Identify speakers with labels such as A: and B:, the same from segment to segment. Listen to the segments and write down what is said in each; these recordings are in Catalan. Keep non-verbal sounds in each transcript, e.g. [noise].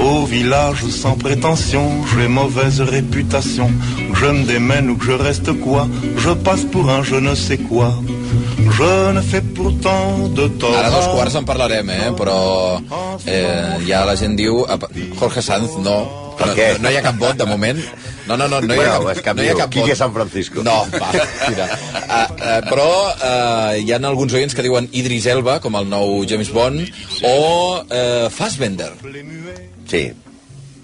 A: Au village sans prétention, j'ai mauvaise réputation. Que je me démène ou que je reste quoi, je passe pour un je ne sais quoi. Je ne fais pourtant de tort.
B: Ara dos quarts en parlarem, eh? però eh, ja la gent diu... "Apa, Jorge Sanz, no.
C: Per
B: No,
C: què?
B: no, no hi ha cap vot, de moment. No, no, no, no hi ha
C: Bueno, és
B: cap,
C: cap
B: no hi ha
C: diu,
B: cap
C: Quique
B: vot.
C: San Francisco.
B: No, va, mira. Uh, uh, però uh, hi ha alguns oients que diuen Idris Elba, com el nou James Bond, o uh, Fassbender.
C: Sí,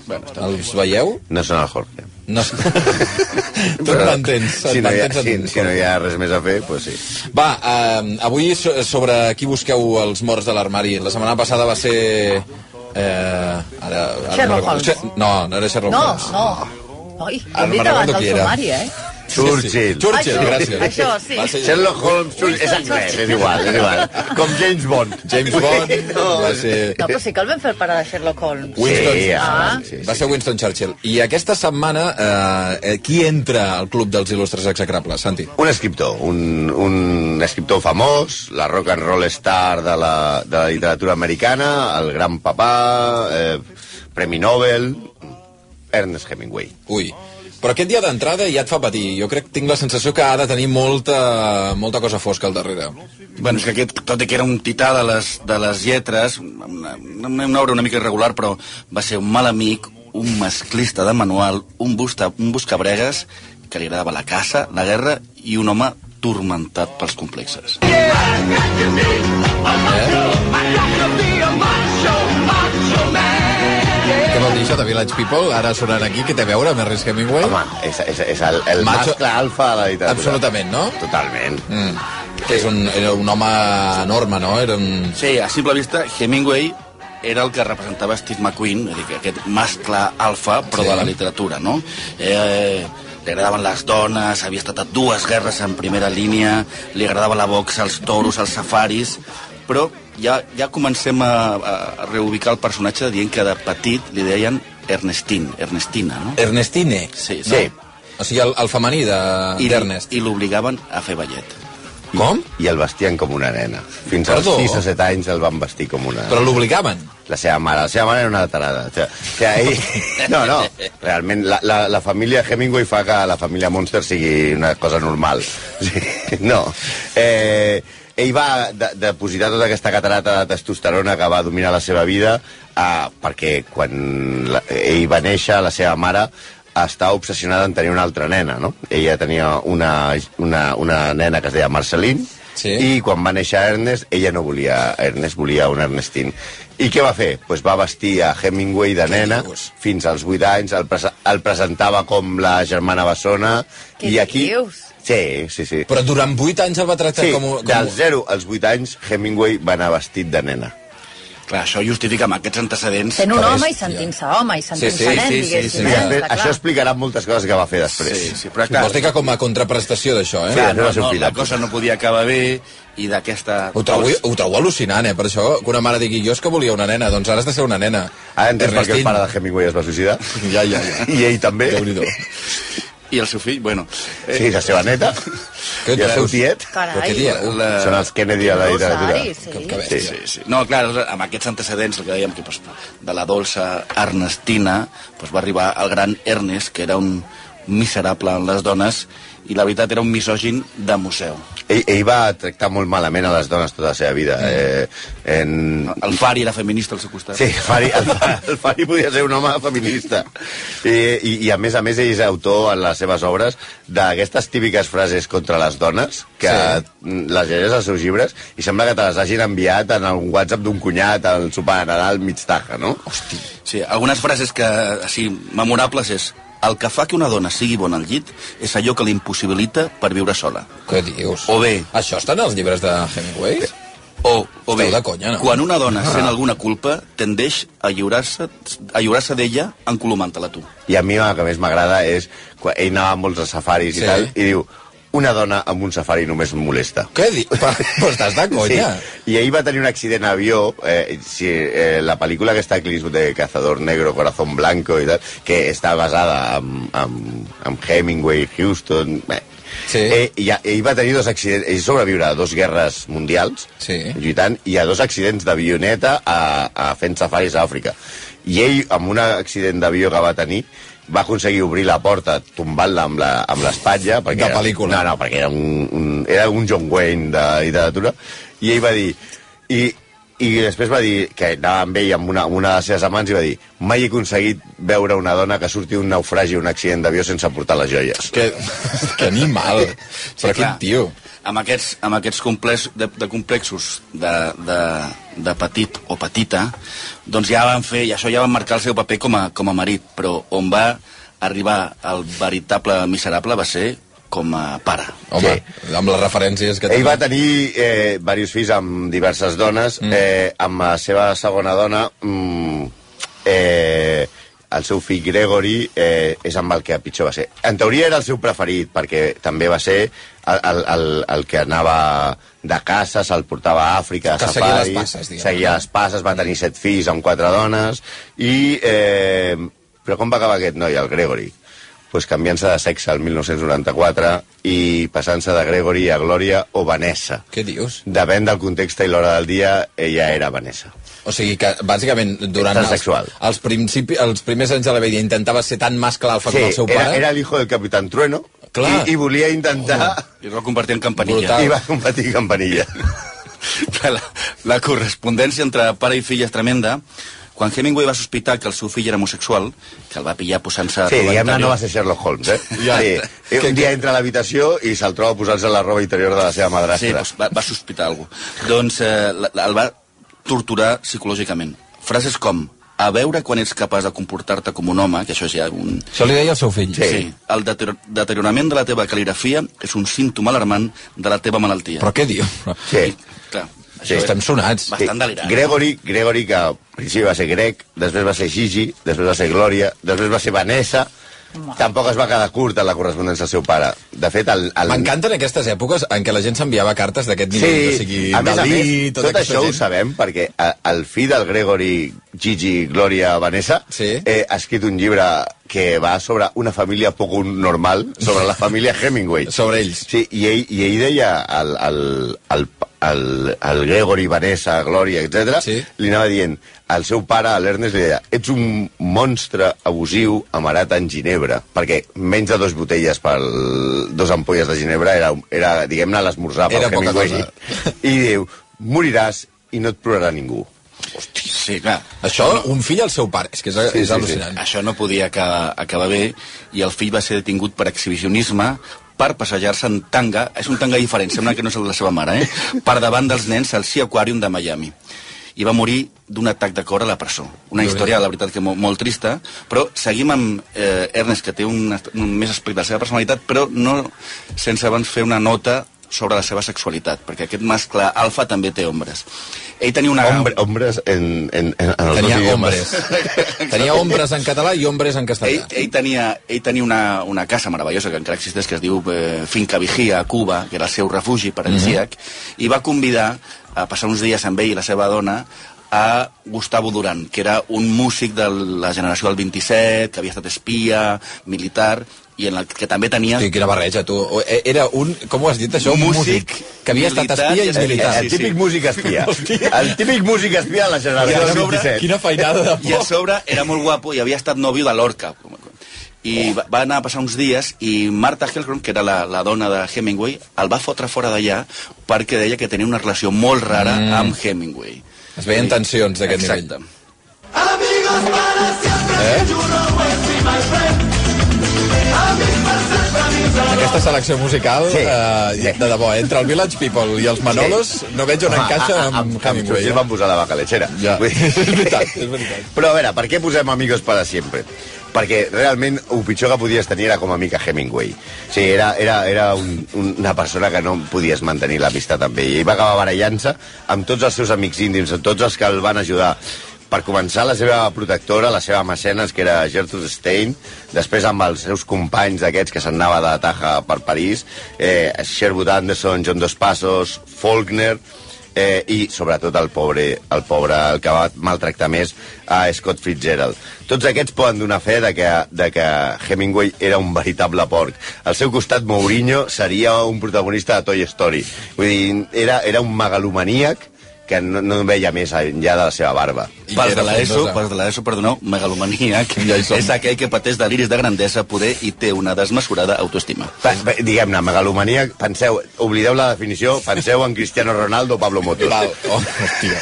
B: Els veieu?
C: no són el Jorge.
B: No. [laughs] tu
C: Però
B: m'entens. et
C: Si, no hi ha,
B: mantens en
C: si, si no
B: Jorge.
C: hi ha res més a fer, doncs sí.
B: Va, eh, avui so- sobre qui busqueu els morts de l'armari. La setmana passada va ser... Eh, ara, ara
D: Sherlock
B: no,
D: Holmes.
B: recordo. no, no era Sherlock
D: No,
B: Holmes.
D: no. Oi, ho
B: Ara
D: hem
B: no
D: dit
B: me'n
D: abans
B: recordo
D: del
B: qui era.
D: sumari, eh?
C: Churchill.
B: Churchill,
D: Això,
B: gràcies.
D: això, sí.
B: Va ser
C: Sherlock Holmes, Churchill, és anglès, és igual, és igual. Com James Bond.
B: James Bond,
C: [laughs]
B: va ser...
D: No, però sí que el vam fer el pare de Sherlock Holmes.
B: Winston,
C: Sí,
D: Ah.
C: ah, sí,
B: Va
C: sí.
B: ser Winston Churchill. I aquesta setmana, eh, eh, qui entra al Club dels Il·lustres Execrables, Santi?
C: Un escriptor, un, un escriptor famós, la rock and roll star de la, de la literatura americana, el gran papà, eh, Premi Nobel, Ernest Hemingway.
B: Ui, però aquest dia d'entrada ja et fa patir. Jo crec que tinc la sensació que ha de tenir molta, molta cosa fosca al darrere.
E: Bueno, és que aquest, tot i que era un tità de les, de les lletres, una, una, una obra una mica irregular, però va ser un mal amic, un masclista de manual, un, busta, un buscabregues que li agradava la caça, la guerra i un home turmentat pels complexes.
B: Què vol dir això de Village People? Ara sonant aquí, què té a veure amb Ernest Hemingway?
C: Home, és, és, és el, el
B: Eh? Macho-
C: mascle alfa de la literatura.
B: Absolutament, no?
C: Totalment.
B: Mm. Que és un, era un home enorme, no? Era un...
E: Sí, a simple vista, Hemingway era el que representava Steve McQueen, és a dir, que aquest mascle alfa, però
B: Sí.
E: de la literatura, no? Eh, li agradaven les dones, havia estat a dues guerres en primera línia, li agradava la boxa, els toros, els safaris... Però ja, ja comencem a, a reubicar el personatge dient que de petit li deien Ernestin, Ernestina,
B: Eh,
E: no?
B: Ernestine.
E: Sí, sí.
C: Sí.
B: O sigui, el, el femení de-
E: I,
B: d'Ernest.
E: I l'obligaven a fer ballet.
C: I-
B: Com?
C: I el vestien com una nena. Fins
B: Perdó?
C: als 6 o 7 anys el van vestir com una
B: Però l'obligaven.
C: La seva mare, la seva mare era una tarada. O sigui, o
B: [laughs]
C: sigui, ahí... No, no, realment la, la, la família Hemingway fa que la família Monster sigui una cosa normal. O sigui, [laughs] no. Eh, ell va de, depositar tota aquesta catarata de testosterona que va dominar la seva vida eh, perquè quan la, ell va néixer, la seva mare estava obsessionada en tenir una altra nena, no? Ella tenia una, una, una nena que es deia Marceline
B: Sí.
C: i i quan va néixer Ernest, ella no volia Ernest, volia un Ernestín. I què va fer? Pues va vestir a Hemingway de nena
B: dius?
C: fins als 8 anys, el, prese el presentava com la germana bessona.
D: Què
C: I aquí...
D: dius?
C: Sí, sí, sí.
B: Però durant 8 anys el va tractar
C: sí,
B: com... un- com...
C: Dels 0 als 8 anys, Hemingway va anar vestit de nena.
E: Clar, això justifica amb aquests antecedents...
D: Sent un
B: Però
D: home i
B: és, tia.
D: sentint-se home i sentint-se
B: sí,
D: nen,
B: sí, sí, sí,
C: I
D: diguéssim.
B: sí.
D: eh?
C: després,
D: Està clar.
C: això explicarà moltes coses que va fer després.
E: Sí, sí, però clar,
B: Vols dir que com a contraprestació d'això, eh?
C: Clar,
E: no,
C: no va ser un
E: no,
C: fill
E: la
C: de
E: cosa no podia acabar bé i d'aquesta...
B: Ho trobo, ho trobo al·lucinant, eh? Per això que una mare digui, jo és que volia una nena, doncs ara has de ser una nena.
E: Ah,
C: Ara entens per què
B: Ernestine.
C: el pare de Hemingway es va suïcidar?
B: [laughs] Ja, ja, ja.
C: I ell també.
E: [laughs]
B: Déu-n'hi-do.
E: I el seu fill, bueno...
C: Sí, la seva neta.
B: Què
C: I el seu
B: dius?
C: tiet.
B: Però què
D: Carai,
B: dia?
E: La...
C: Són els Kennedy a la
D: Rosari,
C: literatura.
D: sí.
B: Que, que
C: Sí,
B: bèstia.
E: Sí, sí. No, clar, doncs, amb aquests antecedents, el que dèiem, que, pues, de la dolça Ernestina, pues, va arribar el gran Ernest, que era un miserable en les dones, i la veritat era un misògin de museu.
C: Ell, ell va tractar molt malament a les dones tota la seva vida. Eh, en...
E: El Fari era feminista al seu costat.
C: Sí, el Fari, el, Fa- el Fari podia ser un home feminista. I, i, I a més a més ell és autor en les seves obres d'aquestes típiques frases contra les dones que
B: Sí.
C: sí. les llegeix als seus llibres i sembla que te les hagin enviat en algun WhatsApp d'un cunyat al sopar de Nadal mig taja, no? Hosti.
E: Sí, algunes frases que, així, memorables és el que fa que una dona sigui bona al llit és allò que l'impossibilita per viure sola.
B: Què dius?
E: O bé-
B: Això està en els llibres de Hemingway?
E: O, o bé,
B: Esteu de conya, no? Ah.
E: quan una dona sent alguna culpa, tendeix a lliurar-se a lliurar d'ella encolomant-te-la tu.
C: I a mi el que més m'agrada és quan ell anava a molts safaris
B: Sí.
C: sí. i tal, i diu una dona amb un safari només molesta.
B: Què dius? [laughs] Però estàs de conya.
C: Sí. I ahir va tenir un accident a avió, eh, sí, eh, la pel·lícula que està Clint Eastwood de Cazador Negro, Corazón Blanco i tal, que està basada en, en, en Hemingway, Houston... Eh.
B: Sí.
C: Eh, i, a- ell va tenir dos accidents, ell sobreviure a dos guerres mundials,
B: Sí.
C: lluitant, i a dos accidents d'avioneta a, a fent safaris a Àfrica. I ell, amb un accident d'avió que va tenir, va aconseguir obrir la porta tombant-la amb la- amb l'espatlla. perquè
B: De
C: era-
B: pel·lícula.
C: No, no, perquè era un, un, era un John Wayne de literatura. I ell va dir... I, i després va dir que anava amb ell amb una, amb una de les seves amants i va dir mai he aconseguit veure una dona que surti d'un naufragi o un accident d'avió sense portar les joies.
B: Que, [laughs] que animal. Però quin
E: clar.
B: tio.
E: Amb aquests, amb aquests complex, de, de complexos de, de, de petit o petita, doncs ja van fer, i això ja van marcar el seu paper com a, com a marit, però on va arribar el veritable miserable va ser com a pare.
B: Home, sí. amb les referències que
C: Ell va tenir eh, diversos fills amb diverses dones. Mm. Eh, amb la seva segona dona, mm, eh, el seu fill Gregory eh, és amb el que pitjor va ser. En teoria era el seu preferit, perquè també va ser el, el, el, el que anava de caça, se'l portava a Àfrica, a
B: Que seguia
C: safaris,
B: les passes, diguem.
C: seguia les passes, va tenir set fills amb quatre dones, i... Eh, però com va acabar aquest noi, el Gregory? pues canviant-se de sexe el 1994 i passant-se de Gregory a Glòria o Vanessa.
B: Què dius?
C: Depèn del context i l'hora del dia, ella era Vanessa.
B: O sigui que, bàsicament, durant els,
C: Transsexual.
B: els, principi, els primers anys de la vida intentava ser tan mascle alfa com el seu
C: era,
B: pare.
C: era l'hijo del Capitán Trueno
B: Clar.
C: i, i volia intentar...
E: I es va convertir en campanilla.
B: Ah. Brutal.
C: I va competir Campanilla.
E: la, la correspondència entre pare i fill és tremenda. Quan Hemingway va sospitar que el seu fill era homosexual, que el va pillar posant-se...
C: Sí,
E: roba
C: diguem-ne,
E: interior-
C: no va ser Sherlock Holmes, eh?
E: Ja.
C: Sí. Un dia entra a l'habitació i se'l troba posant-se la roba interior de la seva
E: Sí,
C: madrastra.
E: doncs va, va sospitar algú. Doncs eh, la- la- el va torturar psicològicament. Frases com, a veure quan ets capaç de comportar-te com un home, que això és ja un...
B: Això li deia el seu fill.
E: El deterior- deteriorament de la teva cal·ligrafia és un símptoma alarmant de la teva malaltia.
B: Però què diu?
C: Sí.
E: Clar,
C: Sí.
E: això és-
B: Estem sonats.
E: Va. Bastant delirant. eh?
C: Gregory, Gregory, que al principi va ser grec, després va ser Gigi, després va ser Glòria, després va ser Vanessa, tampoc es va quedar curta la correspondència al seu pare. De fet, el... el...
B: M'encanten aquestes èpoques en què la gent s'enviava cartes d'aquest nivell, o sigui,
C: a més a
B: Dalí,
C: més,
B: tota
C: tot
B: aquesta
C: això ho
B: gent.
C: sabem perquè eh, el fill del Gregory, Gigi, Glòria, Vanessa,
B: Sí.
C: eh, ha escrit un llibre que va sobre una família poc normal, sobre la família Hemingway.
B: [laughs] Sobre ells.
C: Sí, i ell, i ell deia al, al, al, al, al Gregory, Vanessa, Glòria, etc.
B: Sí.
C: li anava dient, al seu pare, a l'Ernest, li deia ets un monstre abusiu amarat en Ginebra, perquè menys de dos botelles per dos ampolles de Ginebra era, era diguem-ne, l'esmorzar pel
B: Era poca
C: Hemingway.
B: cosa.
C: I diu, moriràs i no et plorarà ningú.
E: Sí, clar.
B: Això, un fill al seu pare. És que és,
C: Sí, sí,
B: és al·lucinant.
E: Això no podia acabar, acabar bé i el fill va ser detingut per exhibicionisme per passejar-se en tanga, és un tanga diferent, sembla que no és el de la seva mare, eh? per davant dels nens al Sea Aquarium de Miami. I va morir d'un atac de cor a la presó. Una història, la veritat, que molt, molt trista, però seguim amb eh, Ernest, que té un, est- un més aspecte de la seva personalitat, però no sense abans fer una nota sobre la seva sexualitat, perquè aquest mascle alfa també té ombres. Ell tenia una...
C: Hombre, hombres en, en, en, en
B: Ah.
C: els
B: Tenia
C: dos [laughs]
B: ombres.
C: idiomes.
B: Tenia ombres en català i ombres en
E: Ell,
B: castellà.
E: ell, tenia, ell tenia una, una casa meravellosa que encara existeix, que es diu eh, Finca Vigia, a Cuba, que era el seu refugi paradisíac, i va convidar a passar uns dies amb ell i la seva dona a Gustavo Durán, que era un músic de la generació del 27, que havia estat espia, militar, i en el que també tenia...
B: Hosti, quina barreja, tu. O- e- Era un, com ho has dit, això? Un
E: Músic,
B: que havia estat
E: militar
B: espia
E: i
B: i militar.
C: El
E: Sí, sí.
C: típic músic espia.
B: [laughs] Hòstia.
C: El típic músic espia de la
E: I a
C: generació del
E: sobre-
C: 27.
B: Quina feinada de
E: I a
B: por.
E: sobre era molt guapo i havia estat nòvio de l'Orca. I va va anar a passar uns dies i Marta Helgrom, que era la, la dona de Hemingway, el va fotre fora d'allà perquè deia que tenia una relació molt rara
B: Mm.
E: mm. amb Hemingway.
B: Es veien tensions d'aquest nivell.
E: Exacte.
B: Aquesta selecció musical,
C: Sí.
B: eh, de debò, eh? entre el Village People i els Manolos, no veig on
C: Home,
B: encaixa
C: a- a-
B: amb, Hemingway.
C: Churchill
B: eh?
C: van posar la vaca lechera.
B: Ja.
C: Vull dir-
B: És veritat, és veritat.
C: [laughs] Però a veure, per què posem Amigos para siempre? Perquè realment el pitjor que podies tenir era com a mica Hemingway. O sigui, era, era, era un, un- una persona que no podies mantenir l'amistat amb ell. Ell va acabar barallant-se amb tots els seus amics íntims, amb tots els que el van ajudar. per començar, la seva protectora, la seva mecenes, que era Gertrude Stein, després amb els seus companys d'aquests que s'anava de Taja per París, eh, Sherwood Anderson, John Dos Passos, Faulkner, eh, i sobretot el pobre, el pobre, el que va maltractar més a Scott Fitzgerald. Tots aquests poden donar fe de que, de que Hemingway era un veritable porc. Al seu costat, Mourinho seria un protagonista de Toy Story. Vull dir, era, era un megalomaníac que no, no veia més enllà de la seva barba.
B: I
E: Pas
B: era
E: de l'ESO,
B: frondosa.
E: pas de l'ESO, perdoneu, megalomaníac,
B: [laughs] Ja hi som.
E: és aquell que pateix deliris de grandesa, poder i té una desmesurada autoestima.
C: Pa- pa- Diguem-ne, megalomania, penseu, oblideu la definició, penseu en Cristiano Ronaldo o Pablo Motos.
B: Val, oh, hòstia.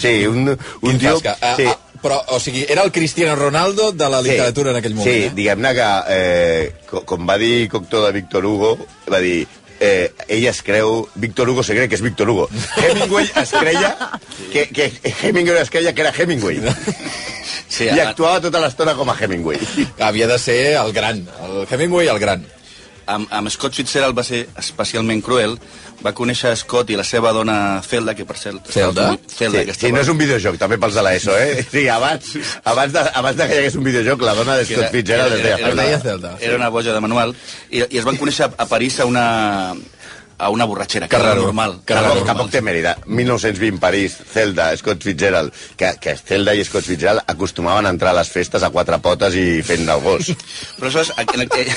C: Sí, un, un
B: Quin
C: tio...
B: tasca. Ah,
C: sí,
B: ah, però, o sigui, era el Cristiano Ronaldo de la literatura en aquell moment.
C: Sí, diguem-ne que, eh, co- com va dir Cocteau de Víctor Hugo, va dir eh, ella es creu... Víctor Hugo se cree que és Víctor Hugo. Hemingway es creia que, que Hemingway es creia que era Hemingway.
E: Sí,
C: I
E: a-
C: actuava tota l'estona com a Hemingway.
B: Havia de ser el gran, el Hemingway el gran.
E: amb, amb Scott Fitzgerald va ser especialment cruel. Va conèixer Scott i la seva dona Zelda, que per cert...
B: Zelda?
E: Zelda, que
C: sí, sí,
E: estava...
C: no és un videojoc, també pels de l'ESO, eh? Sí, abans, abans, de, abans de que hi hagués un videojoc, la dona de Scott Fitzgerald es deia
B: era-
C: Zelda.
B: deia Zelda, sí.
E: Era una boja de manual. I, i es van conèixer a París a una a una borratxera,
B: Que
E: que era
B: raro,
E: normal.
B: que
E: Era
B: raro.
C: Tampoc,
E: normal.
C: tampoc té mèrida. 1920 París, Zelda, Scott Fitzgerald, que, que Zelda i Scott Fitzgerald acostumaven a entrar a les festes a quatre potes i fent el
B: [laughs]
C: gos.
E: Però això és... en aquell-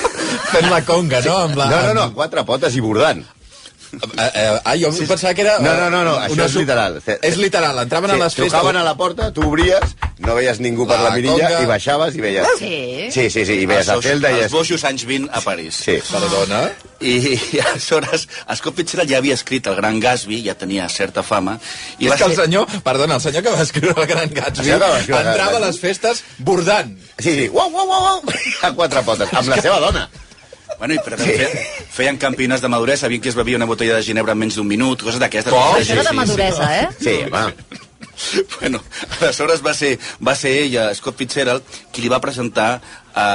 B: Fent la conga, no? Amb la,
C: No, no, no, a quatre potes i bordant.
B: Eh, eh, ah, jo pensava que era... eh,
C: No, no, no, no
B: una
C: això és
B: sub-
C: literal.
B: És literal, entraven a les festes...
C: Trucaven a la porta, tu obries, no veies ningú per
B: La
C: la mirilla
B: conga.
C: i baixaves i veies...
D: Sí.
C: Sí, sí, sí, i
E: els
C: veies a
E: seus-
C: Zelda i...
E: Els
C: es-
E: boixos anys 20 a París.
C: Sí.
B: Perdona.
E: I, i [laughs] aleshores Scott Fitzgerald ja havia escrit El gran Gatsby, ja tenia certa fama. I
B: I
E: va
B: és que el
E: ser-
B: senyor, perdona, el senyor que va escriure el Gran Gatsby
C: El senyor que va escriure el Gran
B: entrava a
C: Gatsby.
B: les festes bordant.
C: Sí, sí, uau, uau, uau, [laughs] uau, a quatre
B: [laughs]
C: potes, amb la seva dona.
E: Bueno, i per tant, feien, feien campionats de maduresa, sabien que es bevia una botella de ginebra en menys d'un minut, coses d'aquestes.
B: Com?
D: Això era de maduresa, eh?
C: Sí, home.
E: [laughs] Bueno, aleshores va ser, va ser ella, Scott Fitzgerald, qui li va presentar a,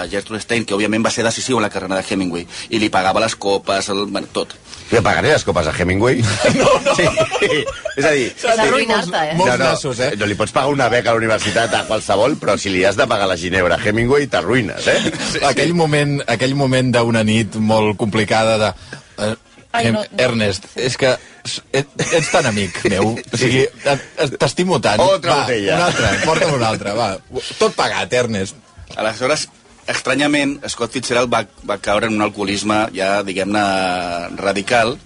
E: a Gertrude Stein, que òbviament va ser decisiu en la carrera de Hemingway, i li pagava les copes, el, bueno, tot.
C: Jo pagaré les copes a
B: [laughs]
C: Hemingway. No, no, sí. És a dir,
D: És arruïnar-te, eh?
B: Molts nassos, eh?
C: No li pots pagar una beca a la universitat a qualsevol, però si li has de pagar la Ginebra a Hemingway, t'arruïnes, eh?
B: aquell moment, aquell moment d'una nit molt complicada de... Eh,
D: Ai,
B: Hem-
D: no, no.
B: Ernest, és que s- et, ets tan amic meu, o sigui, et- et- t'estimo tant.
C: Otra
B: va,
C: botella.
B: Un altre, porta'm un altre, va. Tot pagat, Ernest.
E: Aleshores, estranyament, Scott Fitzgerald va, va caure en un alcoholisme ja, diguem-ne, radical,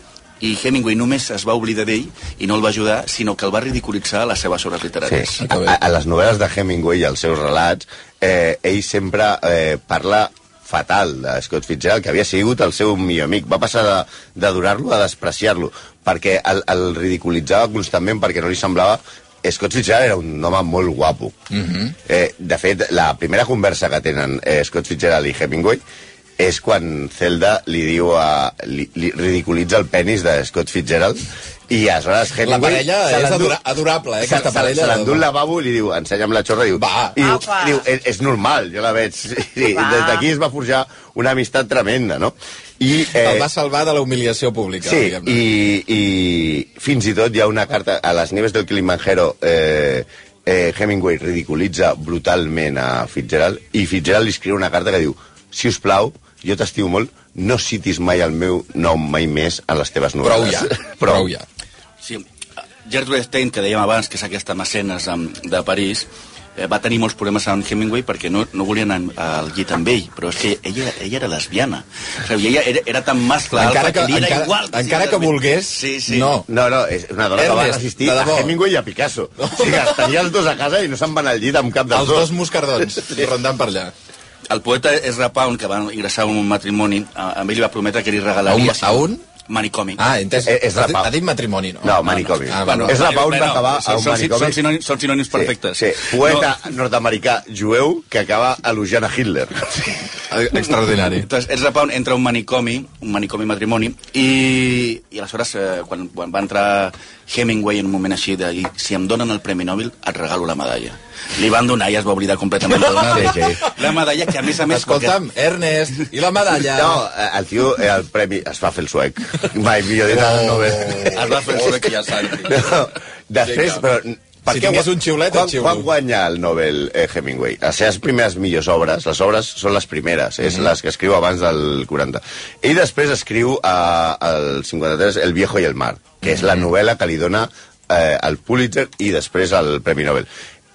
E: i Hemingway només es va oblidar d'ell i no el va ajudar, sinó que el va ridiculitzar a les seves obres literàries.
C: Sí. A, a- a les novel·les de Hemingway i els seus relats, eh, ell sempre eh, parla fatal de Scott Fitzgerald, que havia sigut el seu millor amic. Va passar de- d'adorar-lo a despreciar-lo, perquè el, el ridiculitzava constantment, perquè no li semblava... Scott Fitzgerald era un home molt guapo. Mm -hmm. eh, de fet, la primera conversa que tenen eh, Scott Fitzgerald i Hemingway és quan Zelda li diu a, li, li ridiculitza el penis de Scott Fitzgerald i aleshores
B: La
C: Hemingway
B: parella
C: se
B: és
C: l'endú-
B: adora, adorable, eh,
C: se,
B: aquesta
C: se,
B: parella.
C: se l'endú al lavabo i li diu, ensenya'm la xorra, i diu,
B: Va.
C: i diu,
D: Apa.
C: diu "E-, és, és normal, jo la veig. [laughs] Sí, sí,
D: Va.
C: des d'aquí es va forjar una amistat tremenda, no? I, eh,
B: El va salvar de la humiliació pública,
C: sí,
B: diguem-ne.
C: i, i fins i tot hi ha una carta a les nieves del Kilimanjaro eh, eh, Hemingway ridiculitza brutalment a Fitzgerald i Fitzgerald li escriu una carta que diu si us plau, jo t'estimo molt no citis mai el meu nom mai més a les teves
B: Prou
C: novel·les [laughs]
B: ja, prou ja.
E: Sí, Gertrude Stein, que dèiem abans, que és aquesta mecenes amb, de París, eh, va tenir molts problemes amb Hemingway perquè no, no volien anar al llit amb ell, però és que ella, ella era lesbiana. O sigui, ella era, era tan mascle
B: Encara
E: alfa
B: que-
E: li era
B: encara-
E: igual.
B: encara que volgués,
E: Sí, sí.
B: no.
C: No, no, és una dona que va
B: Ernest,
C: resistir
B: de
C: a
B: debò.
C: Hemingway i a Picasso. O sigui, els tenia els dos a casa i no se'n van al llit amb cap dels
B: Els dos moscardons, rondant per allà.
E: El poeta Ezra Pound, que va ingressar en un matrimoni, a, a ell li va prometre que li regalaria...
B: A un- a un?
E: Manicomi.
B: Ah, entès.
C: Eh, és
B: Ha
C: la
B: dit-
C: pau.
B: Ha dit matrimoni, no?
C: No, manicomi.
B: Ah, bueno.
C: és la pau que
E: Bueno,
C: acaba a
E: són-
C: un
E: són-
C: manicomi.
E: Són sinònims, són sinònims perfectes.
C: Sí, sí. Poeta nord-americà jueu que acaba elogiant a Hitler.
B: Eh, Extraordinari.
E: Entonces, Ezra Pound entra a un manicomi, un manicomi matrimoni, i, i aleshores, eh, quan, quan va entrar Hemingway en un moment així de dir, si em donen el Premi Nobel, et regalo la medalla. Li van donar i es va oblidar completament de donar
C: Sí, sí.
E: la medalla, que a més a més...
B: Escolta'm, Ernest, i la medalla?
C: No, eh, el tio, eh, el premi, es va fer el suec. Mai millor dit,
B: Oh.
C: ara no ve.
E: perquè es va fer el que ja saps.
C: [laughs] No, després,
B: Vinga.
C: però Per
B: Si
C: què
B: tingués
C: gua-
B: un xiulet, et
C: quan,
B: xiulo.
C: Quan guanya el Nobel eh, Hemingway? A ser les primeres millors obres, les obres són les primeres, és
B: Mhm.
C: les que escriu abans del 40. Ell després escriu a, al 53 El viejo i el mar, que és la
B: Mhm.
C: novel·la que li dona eh, el Pulitzer i després el Premi Nobel.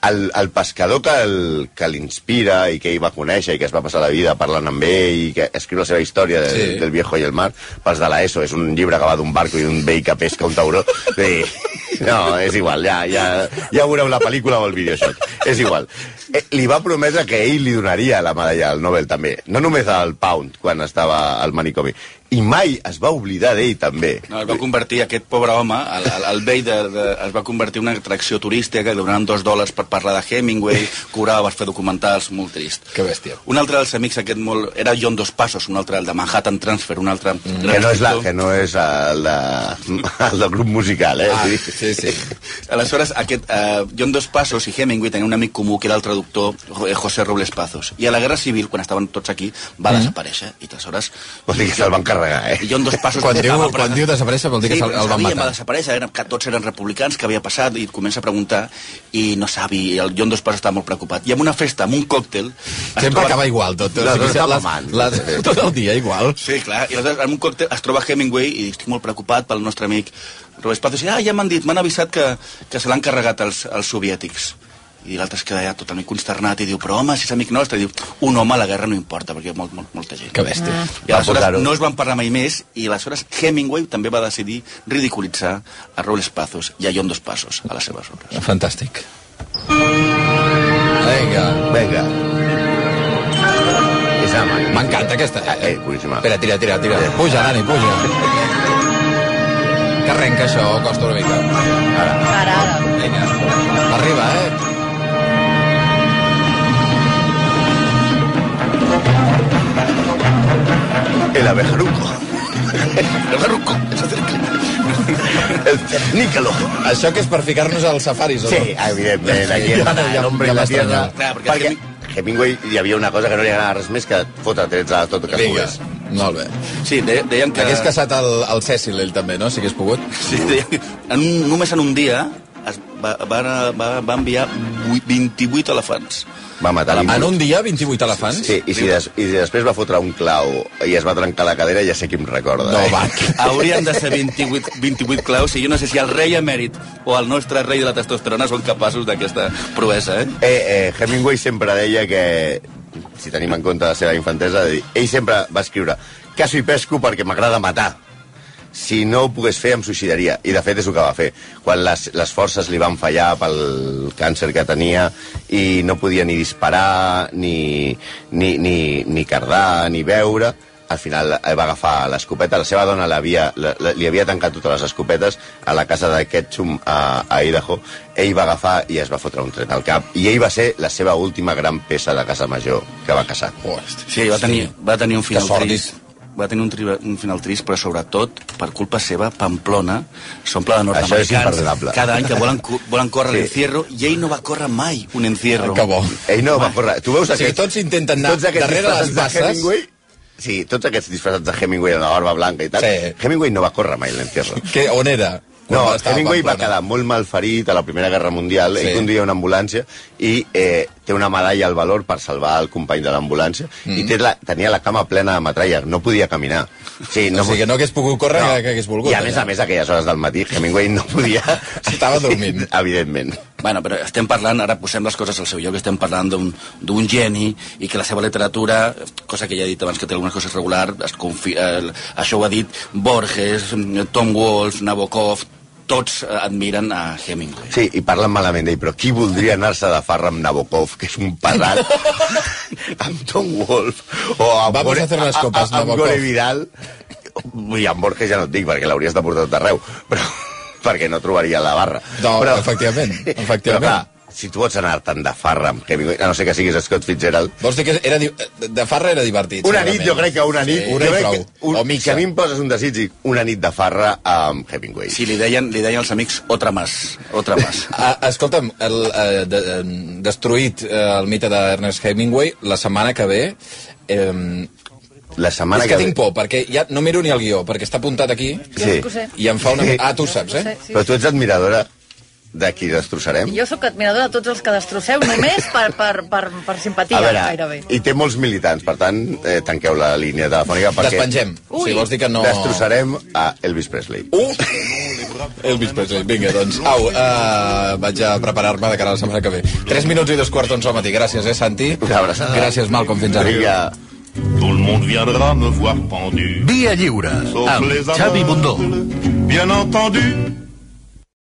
C: El, el pescador que el- que l'inspira i que ell va conèixer i que es va passar la vida parlant amb ell i que escriu la seva història de,
B: Sí.
C: del viejo i el mar, pels de l'ESO, és un llibre que va d'un barco i d'un vell que pesca un tauró. Sí. No, és igual, ja, ja, ja veureu la pel·lícula o el videojoc. És igual. Eh, li va prometre que ell li donaria la medalla al Nobel també, no només al Pound, quan estava al manicomi. I mai es va oblidar d'ell també.
E: No, es va convertir aquest pobre home, el, el, el vell de, de, es va convertir en una atracció turística que donaven dos dòlars per parlar de Hemingway, curava, vas fer documentals, molt trist.
B: Que bèstia.
E: Un altre dels amics aquest molt... Era John Dos Passos, un altre, el de Manhattan Transfer, un altre... Mm.
C: Que no és, la, que no és el, de, el del grup musical, eh?
B: Ah,
C: Vull dir-
B: sí, sí.
E: Aleshores, aquest, eh, John Dos Passos i Hemingway tenien un amic comú que era el traductor eh, José Robles Pazos. I a la Guerra Civil, quan estaven tots aquí, va
B: Mm.
E: desaparèixer. I aleshores...
C: Vol dir que se'l van carregar, eh?
E: John Dos Passos...
B: Quan diu-
E: estava pre-
B: quan diu desaparèixer vol dir que
E: sí,
B: se'l-
E: però
B: el van
E: sabia,
B: matar.
E: Va desaparèixer, eren, que tots eren republicans, que havia passat, i comença a preguntar, i no sabi, i el John Dos Passos estava molt preocupat. I en una festa, amb un còctel... es
B: Sempre
E: troben-
B: acaba igual, tot.
C: No, no està
B: les-
C: mamant.
B: les- tot el dia igual.
E: Sí, clar. I aleshores, en un còctel es troba Hemingway i estic molt preocupat pel nostre amic Robert Pazos. I, ah, ja m'han dit, m'han avisat que, que se l'han carregat els, els soviètics. I l'altre es queda ja totalment consternat i diu, però home, si és amic nostre, I diu, un home a la guerra no importa, perquè hi ha molt, molt, molta gent.
B: Que bèstia.
E: I
C: Va
E: aleshores
C: posar-ho.
E: no es van parlar mai més i aleshores Hemingway també va decidir ridiculitzar a Robles Pazos i a John Dos Passos a les seves obres.
B: Fantàstic. Vinga.
C: Vinga. És amant.
B: M'encanta aquesta.
C: Eh, boníssima.
B: Espera, tira, tira, tira.
C: Eh.
B: Puja, Dani, puja. Que arrenca això, costa una mica.
D: Ara, ara.
B: Vinga. Arriba, eh?
C: El abejaruco. [laughs]
E: El barroco, es acerca.
C: [laughs] El níquelo.
B: Això que és per ficar-nos als safaris, o
C: Sí, evidentment, aquí [laughs]
B: Ja,
C: està
B: ja,
C: l'hombre
B: ja
C: i la
B: m'estranya.
C: tierra.
E: Clar, perquè
C: perquè Hemingway hi havia una cosa que no li agradava res més que fotre trets a tot
B: no?
C: el que es
B: Vinga.
C: pogués.
B: Molt bé.
E: Sí, de, deien que...
B: Hagués casat el, el Cècil, ell també, no? Si hagués pogut.
E: Sí, deia que en un, només en un dia es va, va, va, va enviar vuit- 28 elefants.
C: Va matar
B: En
C: l'himut.
B: un dia, 28 elefants?
C: Sí, i si, des, i si després va fotre un clau i es va trencar la cadera, ja sé qui em recorda.
B: No,
C: eh?
B: va.
E: Haurien de ser 28, 28 claus i jo no sé si el rei emèrit o el nostre rei de la testosterona són capaços d'aquesta proesa, eh?
C: [laughs] Eh, eh, Hemingway sempre deia que, si tenim en compte la seva infantesa, de dir, ell sempre va escriure «Caso i pesco perquè m'agrada matar». Si no ho pogués fer, em suïcidaria. I, de fet, és el que va fer. Quan les, les forces li van fallar pel càncer que tenia i no podia ni disparar, ni, ni, ni, ni cardar, ni veure, al final eh, va agafar l'escopeta. La seva dona l'havia- la- la- li havia tancat totes les escopetes a la casa de Ketchum a, a Idaho. Ell va agafar i es va fotre un tret al cap. I ell va ser la seva última gran peça de casa major que va casar.
B: Hosti.
E: Sí, va tenir, va tenir un final
B: Que sort,
E: trist. Va tenir un, tri, un final trist, però sobretot, per culpa seva, Pamplona s'omple de
C: Això és
E: nord-americans
C: imperdonable.
E: cada any que volen, cu- volen córrer
C: Sí.
E: sí. l'encierro i ell no va córrer mai un encierro.
B: Que bo.
C: Ell no va córrer. Tu veus
B: O sigui,
C: aquests-
B: tots intenten anar
C: tots aquests
B: darrere les
C: disfressats de
B: basses.
C: Hemingway? Sí, tots aquests disfressats de Hemingway amb la barba blanca i tal.
B: Sí.
C: Hemingway no va córrer mai l'encierro.
B: Que, on era? Quan
C: No,
B: estava a
C: Hemingway va
B: Pamplona?
C: quedar molt malferit a la Primera Guerra Mundial,
B: Sí.
C: ell conduïa una ambulància i eh, té una medalla al valor per salvar el company de l'ambulància i
B: Mm.
C: té la, tenia la cama plena de metralles, no podia caminar. Sí,
B: O sigui, que no hagués pogut córrer, que- que hagués volgut,
C: I a més
B: allà.
C: a més, a aquelles hores del matí, Hemingway no podia...
B: Estava dormint.
C: [laughs] Evidentment.
E: Bueno, però estem parlant, ara posem les coses al seu lloc, estem parlant d'un d'un geni i que la seva literatura, cosa que ja he dit abans que té algunes coses regular, es confi... eh, això ho ha dit Borges, Tom Wolfe, Nabokov, tots eh, admiren a Hemingway.
C: Sí, i parlen malament d'ell, però qui voldria anar-se de farra amb Nabokov, que és un
B: [laughs]
C: pedal, amb Tom Wolf, o amb,
B: Vamos a hacer las copas,
C: a, a, amb
B: Nabokov.
C: Gore Vidal, i amb Borges ja no et dic, perquè l'hauries de portar a tot arreu, però [laughs] perquè no trobaria la barra.
B: No,
C: [laughs] però,
B: efectivament, efectivament.
C: Però, clar, si tu pots anar-te'n de farra amb Hemingway, a no sé que siguis Scott Fitzgerald,
B: Vols dir que era, di- de farra era divertit.
C: una nit,
B: segurament.
C: jo crec que una nit...
B: Sí,
C: jo
B: una nit
C: crec
B: prou.
C: que un,
B: o mixa.
C: Si a mi em poses un desig, dic, una nit de farra amb Hemingway.
E: Sí, li deien, li deien els amics otra más, otra más.
B: Ah, escolta'm, el, eh, de, eh, destruït eh, el mite d'Ernest Hemingway, la setmana que ve... Eh,
C: La setmana
B: és que,
C: ve-
B: tinc por, perquè ja no miro ni el guió, perquè està apuntat aquí
D: Jo
C: Sí.
D: sí que ho sé.
B: i em fa una...
C: Sí.
B: Ah, tu ho saps,
D: Sí,
B: eh?
D: sí.
C: Però tu ets admiradora de qui destrossarem?
D: Jo sóc admiradora de tots els que destrosseu, només per, per, per, per simpatia,
C: A veure,
D: gairebé.
C: i té molts militants, per tant, eh, tanqueu la línia telefònica perquè...
B: Despengem.
D: Ui.
B: Si vols dir que no...
C: Destrossarem a Elvis Presley.
B: Uh! Elvis Presley, vinga, doncs. Au, uh, vaig a preparar-me de cara a la setmana que ve. 3 minuts i dos quarts d'onze al matí. Gràcies, eh, Santi?
C: Una abraçada.
B: Gràcies, Malcom. Fins ara.
C: Vinga.
A: Tout le monde viendra me voir pendu.
E: Ah,
F: Via lliure,
A: Sauf
F: amb
A: les
F: Xavi
A: aveugles,
F: Bundó.
A: Bien entendu.